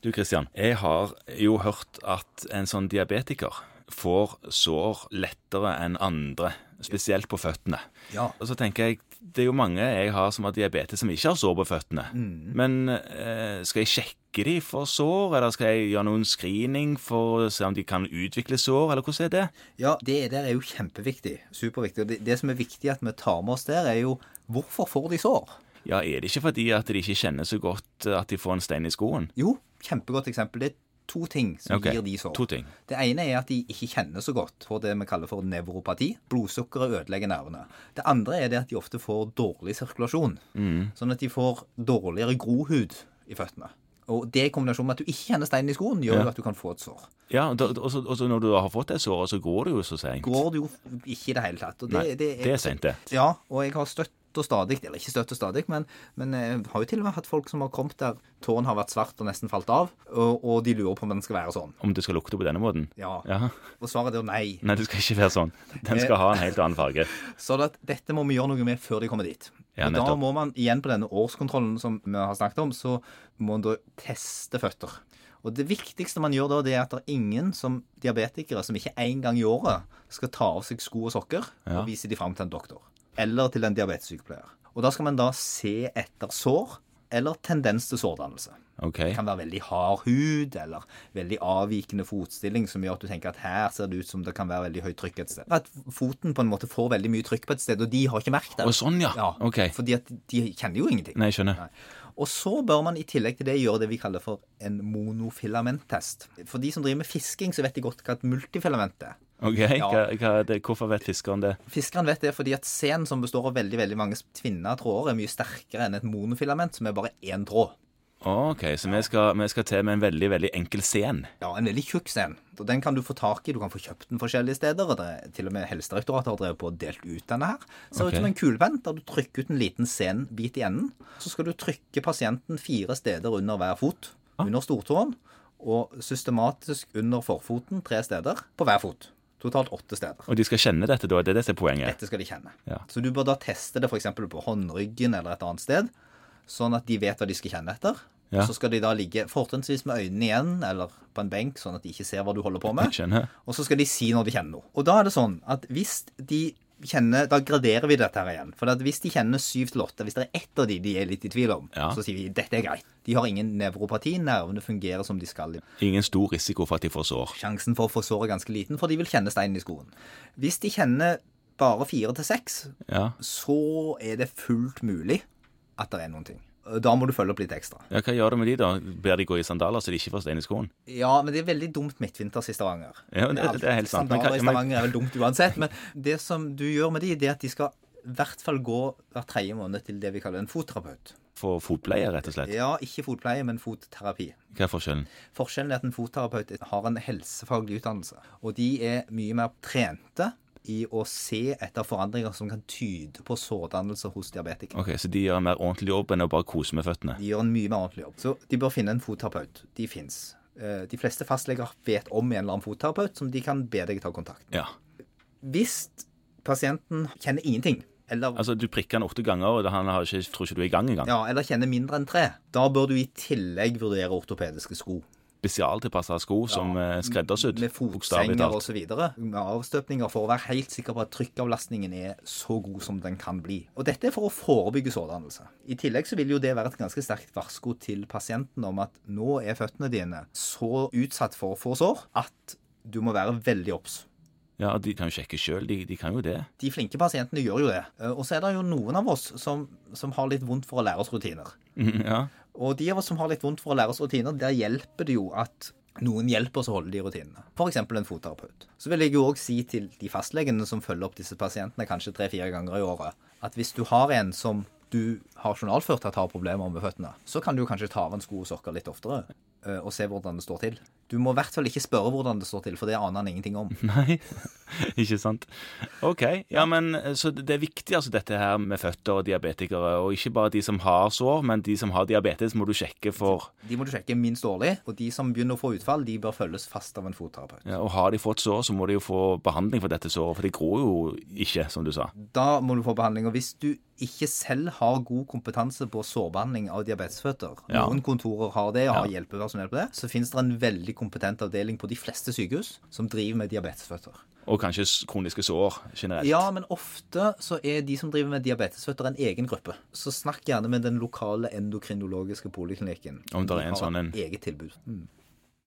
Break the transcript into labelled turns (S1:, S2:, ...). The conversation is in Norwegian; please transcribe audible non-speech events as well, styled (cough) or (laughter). S1: Du Kristian, jeg har jo hørt at en sånn diabetiker får sår lettere enn andre, spesielt på føttene.
S2: Ja.
S1: Og så tenker jeg, det er jo mange jeg har som har diabetes som ikke har sår på føttene.
S2: Mm.
S1: Men eh, skal jeg sjekke de for sår, eller skal jeg gjøre noen screening for å se om de kan utvikle sår, eller hvordan er det?
S2: Ja, det der er jo kjempeviktig. Superviktig. Og det, det som er viktig at vi tar med oss der, er jo hvorfor får de sår?
S1: Ja, er det ikke fordi at de ikke kjenner så godt eh, at de får en stein i skoen?
S2: Jo, kjempegodt eksempel. Det er to ting som
S1: Ok,
S2: gir de sår.
S1: to ting.
S2: Det ene er at de ikke kjenner så godt for det vi kaller for nevropati. Blodsukkeret ødelegger nervene. Det andre er det at de ofte får dårlig sirkulasjon.
S1: Mm.
S2: Sånn at de får dårligere grohud i føttene. Og det i kombinasjon med at du ikke kjenner steinen i skoen, gjør
S1: Ja.
S2: jo at du kan få et sår.
S1: Ja, og da- og så og så når du har fått det såret, så går det jo så seint.
S2: Går det jo ikke i det hele tatt. Og det,
S1: Nei,
S2: det er,
S1: seint, det.
S2: Ja, og jeg har støtt og stadig, eller ikke støtt og stadig, men, men jeg har jo til og med hatt folk som har kommet der tårn har vært svart og nesten falt av, og, og de lurer på om den skal være sånn.
S1: Om det skal lukte på denne måten.
S2: Ja.
S1: Ja.
S2: Og svaret er jo nei.
S1: Nei, det skal ikke være sånn. Den skal ha en helt annen farge.
S2: Sånn at dette må vi gjøre noe med før de kommer dit.
S1: Ja,
S2: og da
S1: nettopp.
S2: må man igjen på denne årskontrollen som vi har snakket om, så må man da teste føtter. Og det viktigste man gjør da, det er at det er ingen som diabetikere som ikke en gang i året skal ta av seg sko og sokker
S1: Ja.
S2: og vise de fram til en doktor. Eller til en diabetessykepleier. Og da skal man da se etter sår eller tendens til sårdannelse.
S1: OK.
S2: Det kan være veldig hard hud eller veldig avvikende fotstilling som gjør at du tenker at her ser det ut som det kan være veldig høyt trykk et sted. At foten på en måte får veldig mye trykk på et sted, og de har ikke merket det.
S1: Å, sånn, ja. Ok.
S2: Fordi at de kjenner jo ingenting.
S1: Nei, jeg skjønner.
S2: Nei. Og så bør man i tillegg til det gjøre det vi kaller for en monofilamenttest. For de som driver med fisking, så vet de godt hva et multifilament er.
S1: Ok, hva, hva er det, Hvorfor vet fiskeren det?
S2: Fiskeren vet det fordi at sen som består av veldig veldig mange tvinna tråder, er mye sterkere enn et monofilament som er bare én tråd.
S1: OK, så vi skal, vi skal til med en veldig veldig enkel scen.
S2: Ja, en veldig tjukk en. Og den kan du få tak i. Du kan få kjøpt den forskjellige steder. og det er Til og med Helsedirektoratet har drevet på og delt ut denne her. Ser
S1: Ok.
S2: ut som en kulepenn der du trykker ut en liten senbit i enden. Så skal du trykke pasienten fire steder under hver fot. Under stortåen og systematisk under forfoten tre steder på hver fot. Totalt åtte steder.
S1: Og de skal kjenne dette, da? Det er det som er poenget?
S2: Dette skal de kjenne.
S1: Ja.
S2: Så du bør da teste det f.eks. på håndryggen eller et annet sted, sånn at de vet hva de skal kjenne etter.
S1: Ja.
S2: Så skal de da ligge fortrinnsvis med øynene igjen eller på en benk, sånn at de ikke ser hva du holder på med.
S1: Jeg skjønner.
S2: Og så skal de si når de kjenner noe. Og da er det sånn at hvis de kjenner Da graderer vi dette her igjen. For at hvis de kjenner syv til åtte, hvis det er ett av de de er litt i tvil om,
S1: Ja.
S2: så sier vi dette er greit. De har ingen nevropati, nervene fungerer som de skal.
S1: Ingen stor risiko for at de får sår.
S2: Sjansen for å få sår er ganske liten, for de vil kjenne steinen i skoen. Hvis de kjenner bare fire til seks,
S1: Ja.
S2: så er det fullt mulig at det er noen ting. Da må du følge opp litt ekstra.
S1: ja, Hva gjør du med de, da? Ber de gå i sandaler så de ikke får stein i skoen?
S2: Ja, men det er veldig dumt midtvinters i Stavanger.
S1: Ja, men det-
S2: Alt
S1: det er helt sant. Men
S2: Sandaler i
S1: kan- men-
S2: Stavanger er vel dumt uansett. Men det som du gjør med de, det er at de skal i hvert fall gå hver tredje måned til det vi kaller en fotterapeut.
S1: Får fotpleie, rett og slett?
S2: Ja, ikke fotpleie, men fotterapi.
S1: Hva er forskjellen?
S2: Forskjellen er at en fotterapeut har en helsefaglig utdannelse, og de er mye mer trente i å se etter forandringer som kan tyde på sårdannelse hos diabetikere.
S1: Ok, Så de gjør en mer ordentlig jobb enn å bare kose med føttene?
S2: De gjør en mye mer ordentlig jobb. Så de bør finne en fotterapeut. De fins. De fleste fastleger vet om en eller annen fotterapeut som de kan be deg ta kontakt med.
S1: Ja.
S2: Hvis pasienten kjenner ingenting, eller,
S1: Altså, du prikker han åtte ganger, og han har ikke, tror ikke du er i gang engang.
S2: ja, eller kjenner mindre enn tre, da bør du i tillegg vurdere ortopediske sko.
S1: Spesialtilpassa sko som eh, er skreddersydd.
S2: Med
S1: bokstavelig
S2: fotsenger
S1: talt.
S2: osv. Med avstøpninger, for å være helt sikker på at trykkavlastningen er så god som den kan bli. Og dette er for å forebygge sårdannelse. I tillegg så vil jo det være et ganske sterkt varsko til pasienten om at nå er føttene dine så utsatt for å få sår at du må være veldig obs.
S1: Ja, de kan jo sjekke sjøl, de, de kan jo det. (laughs)
S2: De flinke pasientene gjør jo det. Eh, Og så er det jo noen av oss som, som har litt vondt for å lære oss rutiner.
S1: ja.
S2: Og de av oss som har litt vondt for å lære oss rutiner, der hjelper det jo at noen hjelper oss å holde de rutinene. F.eks. en fotterapeut. Så vil jeg jo òg si til de fastlegene som følger opp disse pasientene kanskje tre-fire ganger i året, at hvis du har en som du har journalført at har problemer med føttene, så kan du kanskje ta av en sko og sokker litt oftere eh, og se hvordan det står til. Du må i hvert fall ikke spørre hvordan det står til, for det aner han ingenting om.
S1: Nei, (laughs) ikke sant. OK. Ja, men eh, så det er viktig, altså, dette her med føtter og diabetikere. Og ikke bare de som har sår, men de som har diabetes, må du sjekke for
S2: De må du sjekke minst årlig, og de som begynner å få utfall, de bør følges fast av en fotterapeut.
S1: ja, Og har de fått sår, så må de jo få behandling for dette såret, for det gror jo ikke, som du sa.
S2: Da må du få behandling. Og hvis du ikke selv har god kompetanse på sårbehandling av diabetesføtter
S1: Ja.
S2: Noen kontorer har det og har
S1: Ja.
S2: hjelpepersonell på det. Så finnes det en veldig kompetent avdeling på de fleste sykehus som driver med diabetesføtter.
S1: Og kanskje s- kroniske sår generelt.
S2: Ja, men ofte så er de som driver med diabetesføtter en egen gruppe. Så snakk gjerne med den lokale endokrinologiske poliklinikken.
S1: Om det er en
S2: De har
S1: sånn en.
S2: Eget tilbud. Mm.